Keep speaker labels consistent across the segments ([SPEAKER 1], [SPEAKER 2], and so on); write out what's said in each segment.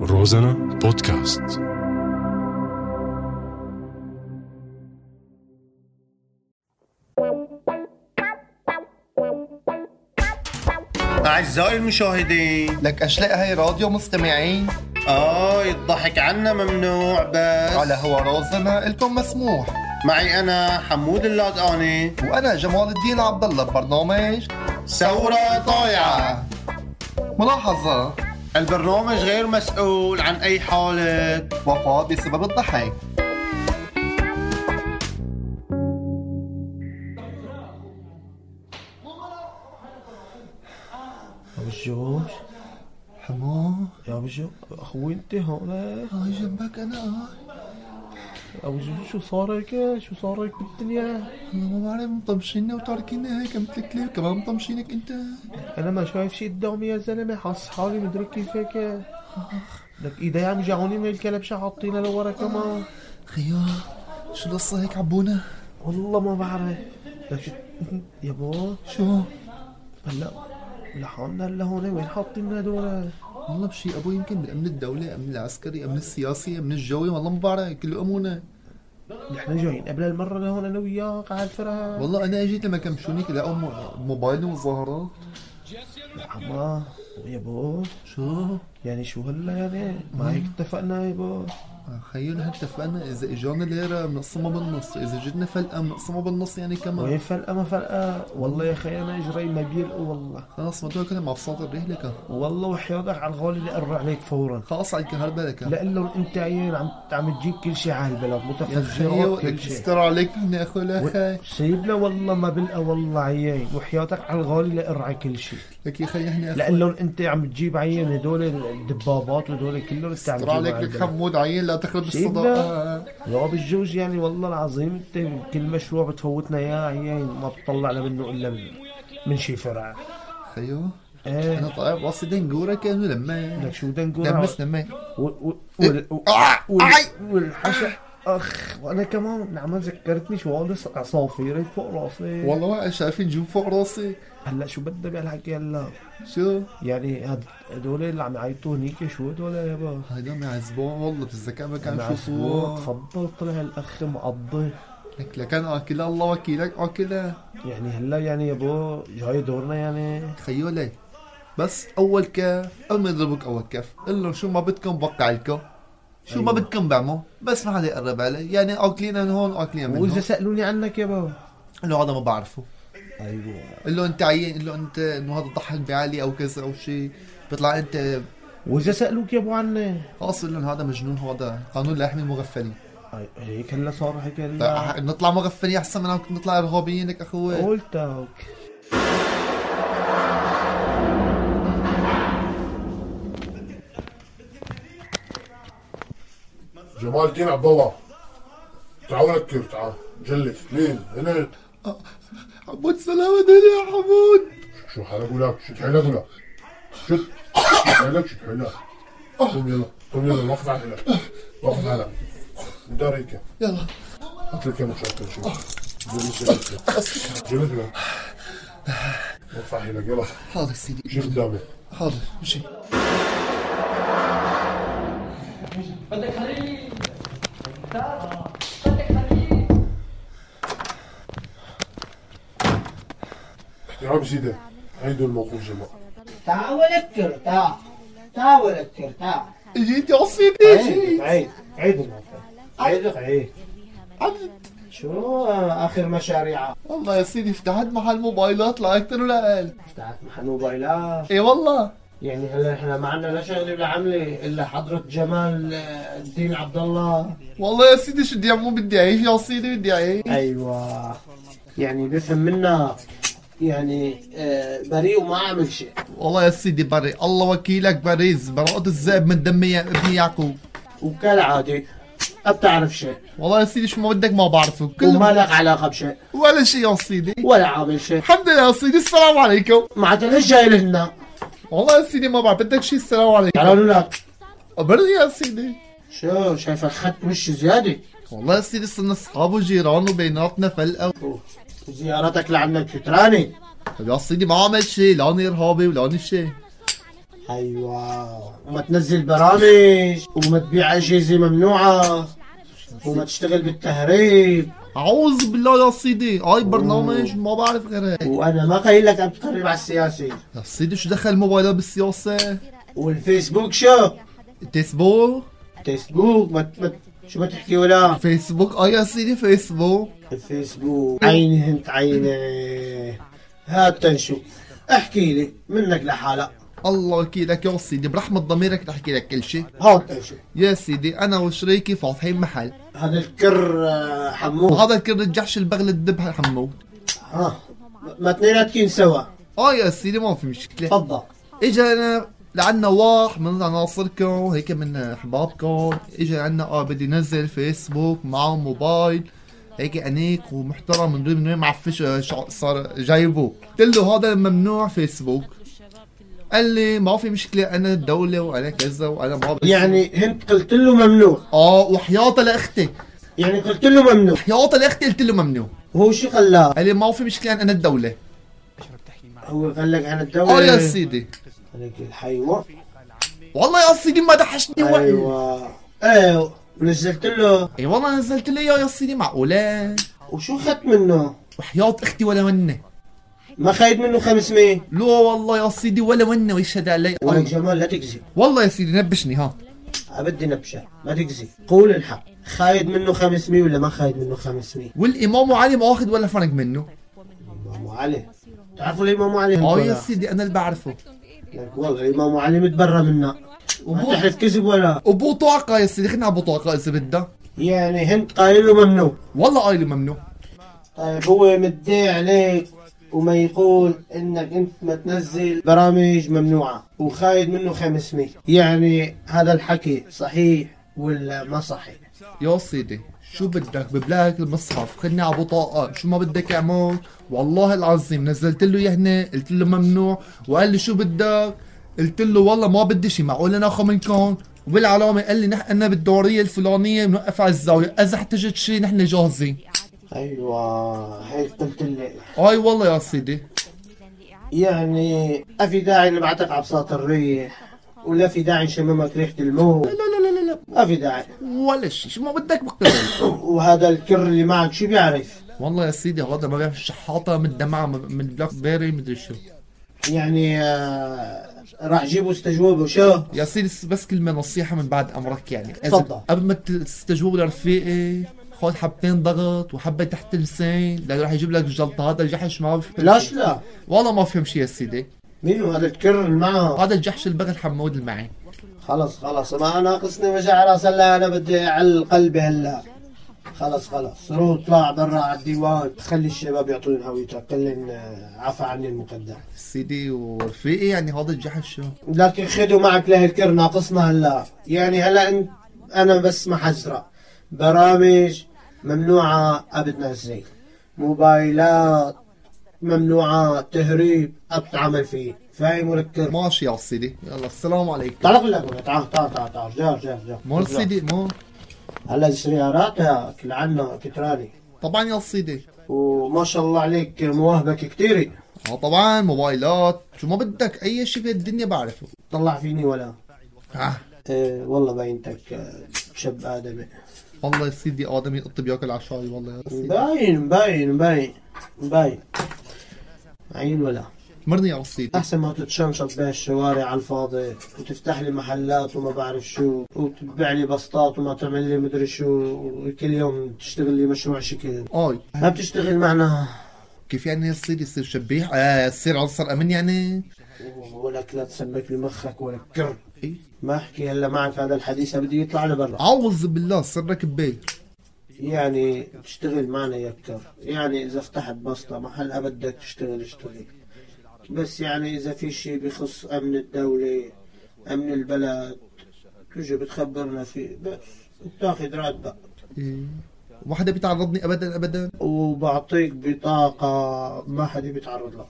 [SPEAKER 1] روزانا بودكاست
[SPEAKER 2] أعزائي المشاهدين
[SPEAKER 3] لك اشلاء هاي راديو مستمعين
[SPEAKER 2] آه الضحك عنا ممنوع بس
[SPEAKER 3] على هو رازنا الكم مسموح
[SPEAKER 2] معي أنا حمود اللادقاني
[SPEAKER 3] وانا جمال الدين عبد الله ببرنامج
[SPEAKER 2] ثورة طايعة
[SPEAKER 3] ملاحظه
[SPEAKER 2] البرنامج غير مسؤول عن أي حالة
[SPEAKER 3] وفاه بسبب الضحك
[SPEAKER 4] ابو الجوج
[SPEAKER 3] حمو
[SPEAKER 4] يا ابو الجوج اخوي انت هون
[SPEAKER 3] هاي جنبك انا
[SPEAKER 4] ابو الجوج شو صار لك شو صار لك بالدنيا
[SPEAKER 3] انا ما بعرف مطمشينا وتاركينا هيك مثل كلاب كمان مطمشينك انت
[SPEAKER 4] انا ما شايف شيء قدامي يا زلمه حاسس حالي مدرك كيف هيك لك ايدي عم يوجعوني من الكلبشه حاطينها لورا كمان
[SPEAKER 3] خيو شو القصة هيك عبونا؟
[SPEAKER 4] والله ما بعرف لك شو- يا بو
[SPEAKER 3] شو؟
[SPEAKER 4] هلا لحالنا لهون وين حاطين هدول
[SPEAKER 3] والله بشي ابو يمكن من امن الدولة امن العسكري امن السياسي امن الجوي والله ما بعرف كله امونه
[SPEAKER 4] نحن جايين قبل المره لهون انا وياك على الفرح
[SPEAKER 3] والله انا اجيت لما كمشوني لقوا م- موبايلي وظهره
[SPEAKER 4] عما يا بو
[SPEAKER 3] شو؟
[SPEAKER 4] يعني شو هلا يعني ما هيك اتفقنا يا بو
[SPEAKER 3] خيو نحن اتفقنا اذا اجانا ليره بنقسمها بالنص اذا جدنا فلقه بنقسمها بالنص يعني
[SPEAKER 4] وين
[SPEAKER 3] كمان
[SPEAKER 4] فرقة ما فرقة والله يا اخي انا اجري ما بيلقوا والله
[SPEAKER 3] خلاص ما تقول كلام مع بساط الرحله كان
[SPEAKER 4] والله وحياتك على الغالي لقر عليك فورا
[SPEAKER 3] خلاص على الكهرباء لك
[SPEAKER 4] لا لو انت عيان عم عم تجيب كل شيء على البلد
[SPEAKER 3] يا يعني خيو
[SPEAKER 4] متفجرات كل
[SPEAKER 3] لك
[SPEAKER 4] شيء
[SPEAKER 3] استر عليك من اخو لا خي
[SPEAKER 4] سيبنا والله ما بلقى والله عيان وحياتك على الغالي لقر على كل شيء
[SPEAKER 3] لك يا خي احنا
[SPEAKER 4] لا لو انت عم تجيب عيان هدول الدبابات وهدول كلهم انت
[SPEAKER 3] استر
[SPEAKER 4] عم تجيبهم
[SPEAKER 3] عليك
[SPEAKER 4] على
[SPEAKER 3] لك
[SPEAKER 4] البلد.
[SPEAKER 3] حمود عين لا تخرب
[SPEAKER 4] سيبنا.
[SPEAKER 3] الصداقه
[SPEAKER 4] يا ابو الجوج يعني والله العظيم انت كل مشروع بتفوتنا يا عيان ما بتطلعنا منه الا من, من شي فرع
[SPEAKER 3] خيو طيب،
[SPEAKER 4] ايه
[SPEAKER 3] انا طالع براسي دنجوره كانوا لما
[SPEAKER 4] لك شو بدنا نقول
[SPEAKER 3] لمس لما
[SPEAKER 4] و- و- وال- و-
[SPEAKER 3] آه،
[SPEAKER 4] وال-
[SPEAKER 3] آي.
[SPEAKER 4] والحشا اخ وانا كمان نعم ذكرتني شو هول عصافير فوق راسي
[SPEAKER 3] والله ما شايفين نجوم فوق راسي
[SPEAKER 4] هلا شو بدنا بهالحكي هلا
[SPEAKER 3] شو
[SPEAKER 4] يعني هاد- هدول اللي عم يعيطوا هنيك شو هدول يابا
[SPEAKER 3] هيدا معزبون والله بالذكاء ما
[SPEAKER 5] يعني
[SPEAKER 3] كان
[SPEAKER 4] معزوق.
[SPEAKER 3] شوفوه
[SPEAKER 4] تفضل طلع الاخ مقضي
[SPEAKER 3] لك لكان اكلها الله وكيلك اكلها
[SPEAKER 4] يعني هلا يعني يابا جاي دورنا يعني
[SPEAKER 3] تخيلي بس اول كاف قبل ما يضربك اول كاف قل لهم شو ما بدكم بوقع لكم شو أيوة. ما
[SPEAKER 4] أيوة.
[SPEAKER 3] بدكم بعمل بس ما حدا يقرب علي يعني اكلين من هون اكلين من
[SPEAKER 4] واذا
[SPEAKER 3] هون
[SPEAKER 4] سالوني عنك يابا
[SPEAKER 3] قل له هذا ما بعرفه
[SPEAKER 4] ايوه
[SPEAKER 5] أيوة.
[SPEAKER 3] قل له انت عيان قل له انت انه هذا ضحك بعلي او كذا او شيء بيطلع انت
[SPEAKER 4] واذا سالوك يابا عني
[SPEAKER 3] خلاص قل لهم هذا مجنون هذا قانون لا يحمي المغفلين
[SPEAKER 4] أي- هيك هلا صار هيك هلا
[SPEAKER 3] طيب نطلع مغفلين احسن من عم نطلع ارهابيين لك اخوي
[SPEAKER 4] قلتك
[SPEAKER 6] جمال الدين عبد الله تعال كيف تعال جلس لين هنا
[SPEAKER 3] حمود سلامة يا حمود
[SPEAKER 6] شو حالك ولا شو تحلك ولا شو تحلك شو تحلك قوم يلا قوم يلا وقف على حالك وقف على حالك دار هيك
[SPEAKER 3] يلا
[SPEAKER 6] قلت لك يا مشاكل شو جلس هناك. جلس هناك. وقف على حالك يلا
[SPEAKER 3] حاضر سيدي
[SPEAKER 6] شو قدامك
[SPEAKER 3] حاضر مشي
[SPEAKER 6] احترام سيدي عيدوا الموقف جماعه
[SPEAKER 5] تعال ارتاح تعال ارتاح
[SPEAKER 3] جيت يا سيدي
[SPEAKER 5] عيد
[SPEAKER 3] جيت
[SPEAKER 5] عيد عيد الموقف عيدك عيد
[SPEAKER 3] عمد.
[SPEAKER 5] شو اخر مشاريعك
[SPEAKER 3] والله يا سيدي فتحت محل موبايلات لا اكثر ولا اقل
[SPEAKER 5] فتحت محل موبايلات
[SPEAKER 3] اي والله
[SPEAKER 5] يعني هلا احنا ما عندنا لا شغله ولا عمله الا حضره جمال آه، الدين عبد الله
[SPEAKER 3] والله يا سيدي شو بدي اعمل بدي اعيش يا سيدي بدي اعيش
[SPEAKER 5] ايوه يعني بيفهم منا يعني آه، بريء وما عامل شيء
[SPEAKER 3] والله يا سيدي بري الله وكيلك بريز براءة الذئب من دم يا ابن يعقوب
[SPEAKER 5] وكالعاده ما بتعرف شيء
[SPEAKER 3] والله يا سيدي شو ما بدك ما بعرفه كل
[SPEAKER 5] وما لك علاقه بشيء
[SPEAKER 3] ولا شيء يا سيدي
[SPEAKER 5] ولا عامل شيء
[SPEAKER 3] الحمد لله يا سيدي السلام عليكم
[SPEAKER 5] معناتها ليش جاي لهنا؟
[SPEAKER 3] والله يا سيدي ما بعرف بدك شيء السلام عليكم
[SPEAKER 5] قالوا لك
[SPEAKER 3] بري يا سيدي
[SPEAKER 5] شو شايف الخط مش زيادة
[SPEAKER 3] والله يا سيدي صرنا اصحاب وجيران وبيناتنا فلقه
[SPEAKER 5] زيارتك لعندك كتراني
[SPEAKER 3] طب يا سيدي ما عمل شيء لا اني ارهابي ولا اني شيء
[SPEAKER 4] ايوه وما تنزل برامج وما تبيع اجهزه ممنوعه وما تشتغل بالتهريب
[SPEAKER 3] اعوذ بالله يا سيدي هاي برنامج ما بعرف غير هيك
[SPEAKER 4] وانا ما قايل لك عم تقرب على السياسه
[SPEAKER 3] يا سيدي شو دخل موبايلها بالسياسه
[SPEAKER 4] والفيسبوك شو
[SPEAKER 3] فيسبوك
[SPEAKER 4] فيسبوك ما ت- ما ت- شو ما تحكي ولا
[SPEAKER 3] فيسبوك اه يا سيدي فيسبوك
[SPEAKER 4] الفيسبوك عيني انت عيني هات تنشوف احكي لي منك لحالك
[SPEAKER 3] الله يكيلك يا سيدي برحمة ضميرك رح احكي لك كل شيء
[SPEAKER 4] هات تنشوف
[SPEAKER 3] يا سيدي انا وشريكي فاتحين محل
[SPEAKER 4] هذا الكر آه، حمود
[SPEAKER 3] وهذا الكرد الجحش البغل الدبها حمود
[SPEAKER 4] ها ما اثنيناتكم سوا
[SPEAKER 3] اه يا سيدي ما في مشكلة
[SPEAKER 4] تفضل
[SPEAKER 3] اجانا لعنا واحد من عناصركم هيك من احبابكم اجى عنا اه بدي نزل فيسبوك معه موبايل هيك انيق ومحترم من غير من وين معفش آه، شو صار جايبه قلت له هذا ممنوع فيسبوك قال لي ما في مشكله انا الدوله وانا كذا وانا ما بس-
[SPEAKER 4] يعني انت قلت له ممنوع
[SPEAKER 3] اه وحياطه لاختي
[SPEAKER 4] يعني قلت له ممنوع
[SPEAKER 3] حياطه لاختي قلت له ممنوع
[SPEAKER 4] هو شو خلاه
[SPEAKER 3] قال لي ما في مشكله انا الدوله
[SPEAKER 4] هو قال لك عن الدولة
[SPEAKER 3] اه يا سيدي
[SPEAKER 4] لك الحيوة
[SPEAKER 3] والله يا سيدي ما دحشني وقت
[SPEAKER 4] ايوه ايه ونزلت له
[SPEAKER 3] اي إيه، والله نزلت لي اياه يا سيدي معقوله
[SPEAKER 4] وشو اخذت منه؟
[SPEAKER 3] وحياة اختي ولا ونه
[SPEAKER 4] ما خايد منه 500
[SPEAKER 3] لا والله يا سيدي ولا ونه ويشهد علي
[SPEAKER 4] ولك جمال لا تكذب
[SPEAKER 3] والله يا سيدي نبشني ها
[SPEAKER 4] بدي نبشة ما تكذب قول الحق خايد منه 500 ولا ما خايد منه 500
[SPEAKER 3] والامام علي ما واخد ولا فرنك منه
[SPEAKER 4] امام علي تعرفوا ليه امام علي
[SPEAKER 3] اه يا
[SPEAKER 4] هالطلع؟
[SPEAKER 3] سيدي انا اللي بعرفه
[SPEAKER 4] لك والله امام علي متبرى منا ما تعرف كذب ولا
[SPEAKER 3] وبوطاقة يا سيدي خلينا على بوطاقة اذا بدها
[SPEAKER 4] يعني هند قايل له ممنوع
[SPEAKER 3] والله قايله ممنوع
[SPEAKER 4] طيب هو مدعي عليك وما يقول انك انت ما تنزل برامج ممنوعه وخايد منه 500 يعني هذا الحكي صحيح ولا ما صحيح
[SPEAKER 3] يا سيدي شو بدك ببلاك المصحف خلني على بطاقة شو ما بدك اعمل والله العظيم نزلت له اياه هنا قلت له ممنوع وقال لي شو بدك قلت له والله ما بدي شي معقول انا اخو منكم وبالعلامة قال لي نحن أنا بالدورية الفلانية بنوقف على الزاوية إذا احتجت شي نحن جاهزين
[SPEAKER 4] ايوه هيك قلت لي
[SPEAKER 3] اي والله يا سيدي
[SPEAKER 4] يعني ما في داعي نبعتك على بساط الريح ولا في داعي نشممك ريحه الموت
[SPEAKER 3] لا لا لا لا
[SPEAKER 4] ما في داعي
[SPEAKER 3] لا ولا شيء شو ما بدك بقبل
[SPEAKER 4] وهذا الكر اللي معك شو بيعرف
[SPEAKER 3] والله يا سيدي هذا ما بيعرف شحاطه من دمعه من بلاك بيري مدري شو
[SPEAKER 4] يعني آه، راح جيبه استجوبه شو
[SPEAKER 3] يا سيدي بس كلمه نصيحه من بعد امرك يعني إذا-
[SPEAKER 4] تفضل.
[SPEAKER 3] قبل ما تستجوب لرفيقي خذ حبتين ضغط وحبه تحت اللسان لانه رح يجيب لك الجلطه هذا الجحش ما بفهم
[SPEAKER 4] لاش
[SPEAKER 3] شي.
[SPEAKER 4] لا
[SPEAKER 3] والله ما فهم شيء يا سيدي
[SPEAKER 4] مين هذا الكر اللي معه
[SPEAKER 3] هذا الجحش البغل حمود المعي
[SPEAKER 4] خلص خلص ما ناقصني وجع راس هلا انا بدي اعل قلبي هلا خلص خلص روح اطلع برا على الديوان خلي الشباب يعطوني هويتك كلن آه، عفا عني المقدم
[SPEAKER 3] سيدي ورفيقي يعني هذا الجحش شو
[SPEAKER 4] لكن خدوا معك لهالكر ناقصنا هلا يعني هلا انت انا بس ما حزرة برامج ممنوعة أبدنا زي موبايلات ممنوعة تهريب أبتعمل فيه فاهم الكر
[SPEAKER 3] ماشي يا سيدي يلا السلام عليكم
[SPEAKER 4] تعال اقول لك تعال تعال تعال تعال جار جار جار
[SPEAKER 3] مو سيدي مو
[SPEAKER 4] هلا سياراتها لعنا كتراني
[SPEAKER 3] طبعا يا سيدي
[SPEAKER 4] وما شاء الله عليك مواهبك كتيرة
[SPEAKER 3] اه طبعا موبايلات شو ما بدك اي شيء بالدنيا بعرفه
[SPEAKER 4] طلع فيني ولا
[SPEAKER 3] آه.
[SPEAKER 4] إيه والله باينتك آه، شاب آدمي
[SPEAKER 3] والله يا سيدي ادمي الطب ياكل عشاي والله يا سيدي
[SPEAKER 4] باين باين باين باين عين ولا
[SPEAKER 3] مرني يا سيدي
[SPEAKER 4] احسن ما تتشمشط بهالشوارع على الفاضي وتفتح لي محلات وما بعرف شو وتبيع لي بسطات وما تعمل لي مدري شو وكل يوم تشتغل لي مشروع شكل
[SPEAKER 3] اي
[SPEAKER 4] ما بتشتغل معنا
[SPEAKER 3] كيف يعني يا سيدي يصير شبيح آه يصير عنصر امن يعني
[SPEAKER 4] ولك لا تسمك بمخك ولا كر
[SPEAKER 3] إيه؟
[SPEAKER 4] ما احكي هلا معك هذا الحديث بدي يطلع لبرا
[SPEAKER 3] اعوذ بالله سرك ببي
[SPEAKER 4] يعني تشتغل معنا يا كر يعني اذا فتحت بسطه محل بدك تشتغل اشتغل بس يعني اذا في شيء بخص امن الدوله امن البلد تجي بتخبرنا فيه بس بتاخذ راتبك
[SPEAKER 3] إيه. ما حدا بيتعرضني ابدا ابدا
[SPEAKER 4] وبعطيك بطاقه ما حدا بيتعرض لها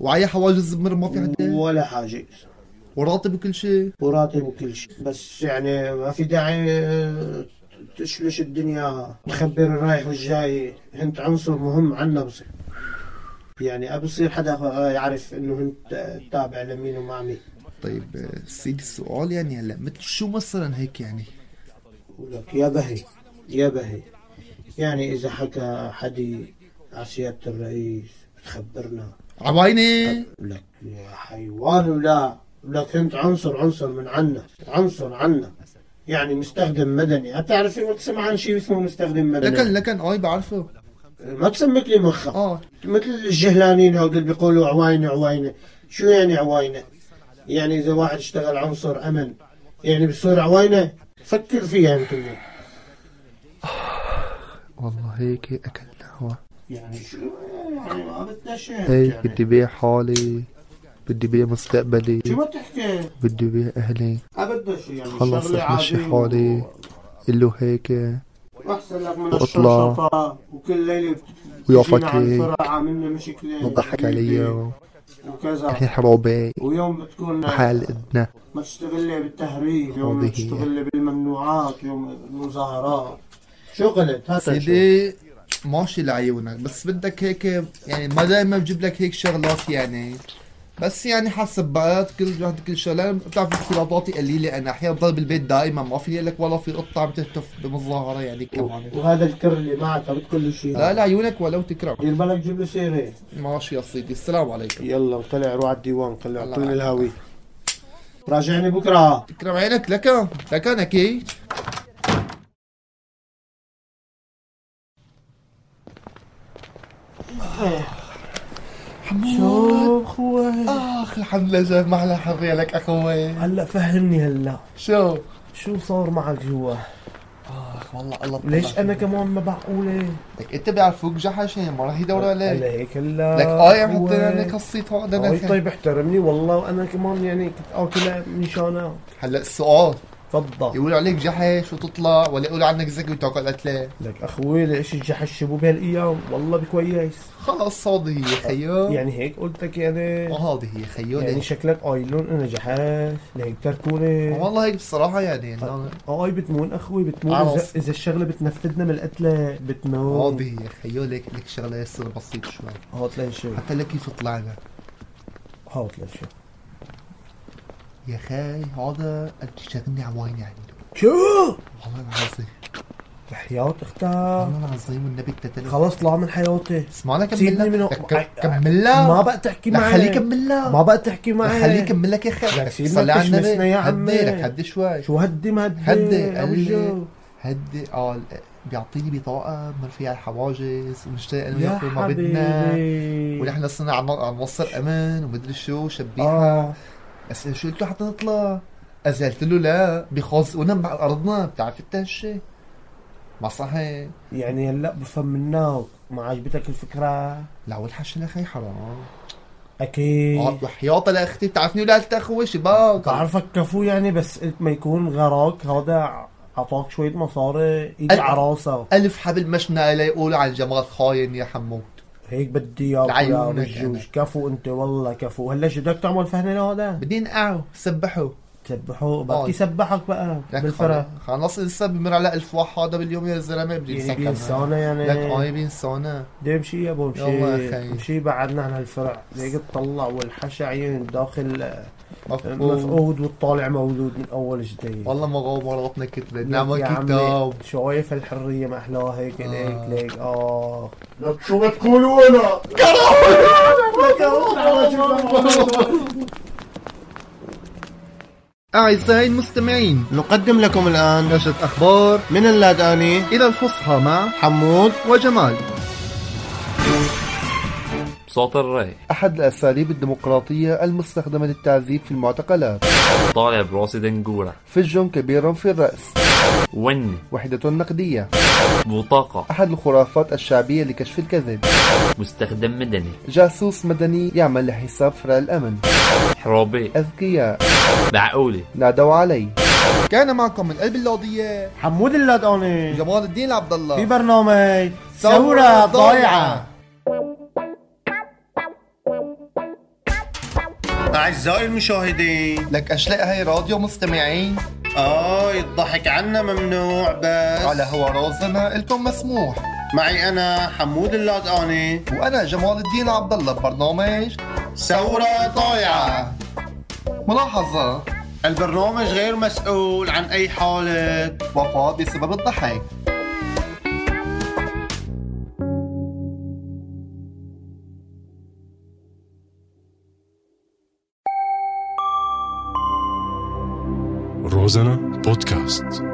[SPEAKER 3] وعي حواجز مر ما في حدا
[SPEAKER 4] ولا حاجز
[SPEAKER 3] وراتب وكل شيء
[SPEAKER 4] وراتب وكل شيء بس يعني ما في داعي آه، تشلش الدنيا تخبر الرايح والجاي انت عنصر مهم عنا بصير يعني أبي بصير حدا آه، يعرف انه انت آه، تابع لمين ومع مين
[SPEAKER 3] طيب آه، سيدي السؤال يعني هلا مثل شو مثلا هيك يعني
[SPEAKER 4] ولك يا بهي يا بهي يعني إذا حكى حدي على سيادة الرئيس بتخبرنا
[SPEAKER 3] عبايني
[SPEAKER 4] لك يا حيوان ولا لك أنت عنصر عنصر من عنا عنصر عنا يعني مستخدم مدني هتعرفي ما تسمع عن شيء اسمه مستخدم مدني
[SPEAKER 3] لكن لكن اي بعرفه
[SPEAKER 4] ما تسمك لي مخك
[SPEAKER 3] اه
[SPEAKER 4] مثل الجهلانين هول اللي بيقولوا عواينة عواينة شو يعني عواينة يعني إذا واحد اشتغل عنصر أمن يعني بصير عواينة فكر فيها أنتم
[SPEAKER 3] والله هيك اكلنا هوا
[SPEAKER 4] يعني شو يعني ما بدنا شيء
[SPEAKER 3] هيك
[SPEAKER 4] يعني
[SPEAKER 3] بدي بيع حالي بدي بيع مستقبلي
[SPEAKER 4] شو ما تحكي
[SPEAKER 3] بدي بيع اهلي
[SPEAKER 4] ما بدنا شيء يعني
[SPEAKER 3] خلص
[SPEAKER 4] شغلة
[SPEAKER 3] اتمشي
[SPEAKER 4] عادية
[SPEAKER 3] حالي قل له هيك
[SPEAKER 4] واحسن لك من
[SPEAKER 3] واطلع.
[SPEAKER 4] الشرشفة وكل ليلة
[SPEAKER 3] ويا
[SPEAKER 4] بتجينا عن
[SPEAKER 3] فكرك.
[SPEAKER 4] فرع عملنا مشكلة
[SPEAKER 3] ما تضحك علي
[SPEAKER 4] وكذا
[SPEAKER 3] احنا حروبي
[SPEAKER 4] ويوم بتكون
[SPEAKER 3] حال ادنى
[SPEAKER 4] ما تشتغل لي بالتهريب يوم
[SPEAKER 3] هذه هي.
[SPEAKER 4] تشتغل لي بالممنوعات يوم المظاهرات شغلت هذا
[SPEAKER 3] سيدي ماشي لعيونك بس بدك هيك يعني ما دائما بجيب لك هيك شغلات يعني بس يعني حسب بقات كل واحد كل شغله بتعرف اختلاطاتي قليله انا احيانا بضل بالبيت دائما ما في لك ولا في قطه عم تهتف بمظاهره يعني كمان
[SPEAKER 4] وهذا الكر اللي معك عم بكل شيء
[SPEAKER 3] لا لعيونك ولو تكرم
[SPEAKER 4] دير بالك جيب له سيره
[SPEAKER 3] ماشي يا سيدي السلام عليكم
[SPEAKER 4] يلا وطلع روح على الديوان قال له
[SPEAKER 3] الله.
[SPEAKER 4] اعطوني الهاوي راجعني بكره
[SPEAKER 3] تكرم عينك لك لك اكيد
[SPEAKER 2] شو اخوي
[SPEAKER 3] اخ الحمد لله جاب معنا حريه لك اخوي
[SPEAKER 2] هلا فهمني هلا
[SPEAKER 3] شو
[SPEAKER 2] شو صار معك جوا
[SPEAKER 3] اخ والله الله
[SPEAKER 2] ليش انا كمان ما بعقوله
[SPEAKER 3] لك انت بيعرفوك جحشين ما راح يدوروا
[SPEAKER 2] انا
[SPEAKER 3] عليك
[SPEAKER 2] هيك هلا
[SPEAKER 3] لك آية اي
[SPEAKER 2] أخوي.
[SPEAKER 3] حطينا لك الصيت هون
[SPEAKER 2] أي
[SPEAKER 3] أنا
[SPEAKER 2] طيب احترمني والله وانا كمان يعني كنت اكلها من شانها
[SPEAKER 3] هلا السؤال
[SPEAKER 2] تفضل
[SPEAKER 3] يقولوا عليك جحش وتطلع ولا يقولوا عنك ذكي وتاكل قتله
[SPEAKER 2] لك اخوي ليش الجحش شبو بهالايام والله بكويس
[SPEAKER 3] خلص هذه هي خيو
[SPEAKER 2] يعني هيك قلت لك يعني
[SPEAKER 3] هذه هي خيو
[SPEAKER 2] يعني
[SPEAKER 3] ليش؟
[SPEAKER 2] شكلك قايلون انا جحش لهيك تركوني
[SPEAKER 3] والله هيك بصراحه يعني أنا-
[SPEAKER 2] اه اي بتمون اخوي بتمون
[SPEAKER 3] عرف.
[SPEAKER 2] اذا إذا الشغله بتنفذنا من القتله بتمون
[SPEAKER 3] هذه هي خيو لك لك شغله يصير بسيط شوي
[SPEAKER 2] هات لنشوف
[SPEAKER 3] حتى لك كيف طلعنا
[SPEAKER 2] هات لنشوف
[SPEAKER 3] يا خي هذا قد شغلني عوايني عنده
[SPEAKER 2] شو
[SPEAKER 3] يعني. والله العظيم
[SPEAKER 2] بحياة اختها
[SPEAKER 3] والله العظيم والنبي التتلو
[SPEAKER 2] خلاص طلع من حياتي
[SPEAKER 3] اسمعنا
[SPEAKER 2] سيبني
[SPEAKER 3] كمل
[SPEAKER 2] منه.
[SPEAKER 3] لك كمل لك
[SPEAKER 2] ما بقى تحكي
[SPEAKER 3] لا
[SPEAKER 2] معي
[SPEAKER 3] خليه يكمل لك
[SPEAKER 2] ما بقى تحكي معي
[SPEAKER 3] خليه يكمل لك يا اخي
[SPEAKER 2] لك سيبنا
[SPEAKER 3] صلي على
[SPEAKER 2] تشمسنا
[SPEAKER 3] النبي
[SPEAKER 2] يا
[SPEAKER 3] هدي
[SPEAKER 2] عمي.
[SPEAKER 3] لك هدي شوي
[SPEAKER 2] شو هدي مهدي
[SPEAKER 3] هدي،
[SPEAKER 2] أبو
[SPEAKER 3] قال لي.
[SPEAKER 2] جو.
[SPEAKER 3] هدي اه بيعطيني بطاقه من فيها الحواجز ونشتغل انا
[SPEAKER 2] يا
[SPEAKER 3] وياكم ما بدنا
[SPEAKER 2] حبيبي
[SPEAKER 3] ونحن صرنا عم عم نوصل امان ومدري شو شبيحه
[SPEAKER 2] اه
[SPEAKER 3] بس شو قلت له حتى نطلع أزلت له لا بخزقونا مع ارضنا بتعرف انت هالشي ما صحيح
[SPEAKER 2] يعني هلا بفهم منك ما عجبتك الفكره
[SPEAKER 3] لا والحش يا اخي حرام آه،
[SPEAKER 2] اكيد
[SPEAKER 3] وحياطة لاختي بتعرفني ولا قلت اخوي شباب
[SPEAKER 2] بعرفك كفو يعني بس قلت ما يكون غراك هذا عطاك شويه مصاري ايد
[SPEAKER 3] أنا-
[SPEAKER 2] على راسك
[SPEAKER 3] ألف حبل مشنا لا يقولوا عن جمال خاين يا حمود
[SPEAKER 2] هيك بدي اياك يا
[SPEAKER 3] لعيونك
[SPEAKER 2] رجوش كفو انت والله كفو هلا شو بدك تعمل فهنا لهذا
[SPEAKER 3] بدي نقعه سبحه
[SPEAKER 2] تسبحوا
[SPEAKER 3] آه.
[SPEAKER 2] بدي يسبحك بقى
[SPEAKER 3] لك
[SPEAKER 2] بالفرق
[SPEAKER 3] خلاص- خلاص لسه بمر على ألف واحد باليوم يا زلمة بدي
[SPEAKER 2] يعني
[SPEAKER 3] نسكر.
[SPEAKER 2] بينسانا
[SPEAKER 3] لك آه.
[SPEAKER 2] يعني
[SPEAKER 3] آي بينسانا
[SPEAKER 2] بدي امشي يا ابو
[SPEAKER 3] يلا
[SPEAKER 2] امشي
[SPEAKER 3] يا خي.
[SPEAKER 2] امشي بعدنا عن هالفرع ليك تطلع والحشا عين داخل
[SPEAKER 3] مفقود
[SPEAKER 2] مفقود والطالع مولود من اول جديد
[SPEAKER 3] والله مغامراتنا كتلة
[SPEAKER 2] يا
[SPEAKER 3] نعمة
[SPEAKER 2] عمي،
[SPEAKER 3] كتاب
[SPEAKER 2] شايف الحريه ما احلاها هيك
[SPEAKER 3] آه.
[SPEAKER 2] ليك ليك اه
[SPEAKER 6] لك شو بتقولوا انا؟
[SPEAKER 3] أعزائي المستمعين
[SPEAKER 4] نقدم لكم الآن
[SPEAKER 3] نشرة أخبار
[SPEAKER 4] من اللاداني
[SPEAKER 3] إلى الفصحى مع
[SPEAKER 4] حمود
[SPEAKER 3] وجمال
[SPEAKER 7] بصوت الري
[SPEAKER 3] أحد الأساليب الديمقراطية المستخدمة للتعذيب في المعتقلات
[SPEAKER 7] طالع براسي دنجورة
[SPEAKER 3] فج كبير في الرأس
[SPEAKER 7] ون
[SPEAKER 3] وحدة نقدية
[SPEAKER 7] بطاقة
[SPEAKER 3] أحد الخرافات الشعبية لكشف الكذب
[SPEAKER 7] مستخدم مدني
[SPEAKER 3] جاسوس مدني يعمل لحساب فرع الأمن
[SPEAKER 7] حرابي
[SPEAKER 3] أذكياء
[SPEAKER 7] معقولة
[SPEAKER 3] نادوا علي كان معكم من قلب اللوضية
[SPEAKER 4] حمود اللاداني
[SPEAKER 3] جمال الدين عبد
[SPEAKER 4] في
[SPEAKER 3] الله
[SPEAKER 4] برنامج ثورة ضايعة
[SPEAKER 8] أعزائي المشاهدين
[SPEAKER 3] لك أشلاء هاي راديو مستمعين
[SPEAKER 8] آه الضحك عنا ممنوع بس
[SPEAKER 3] على هو رازنا إلكم مسموح
[SPEAKER 8] معي أنا حمود اللادقاني
[SPEAKER 3] وأنا جمال الدين عبد الله ببرنامج
[SPEAKER 8] ثورة ضايعة
[SPEAKER 3] ملاحظة
[SPEAKER 2] البرنامج غير مسؤول عن أي حالة
[SPEAKER 3] وفاة بسبب الضحك
[SPEAKER 1] Розана подкаст.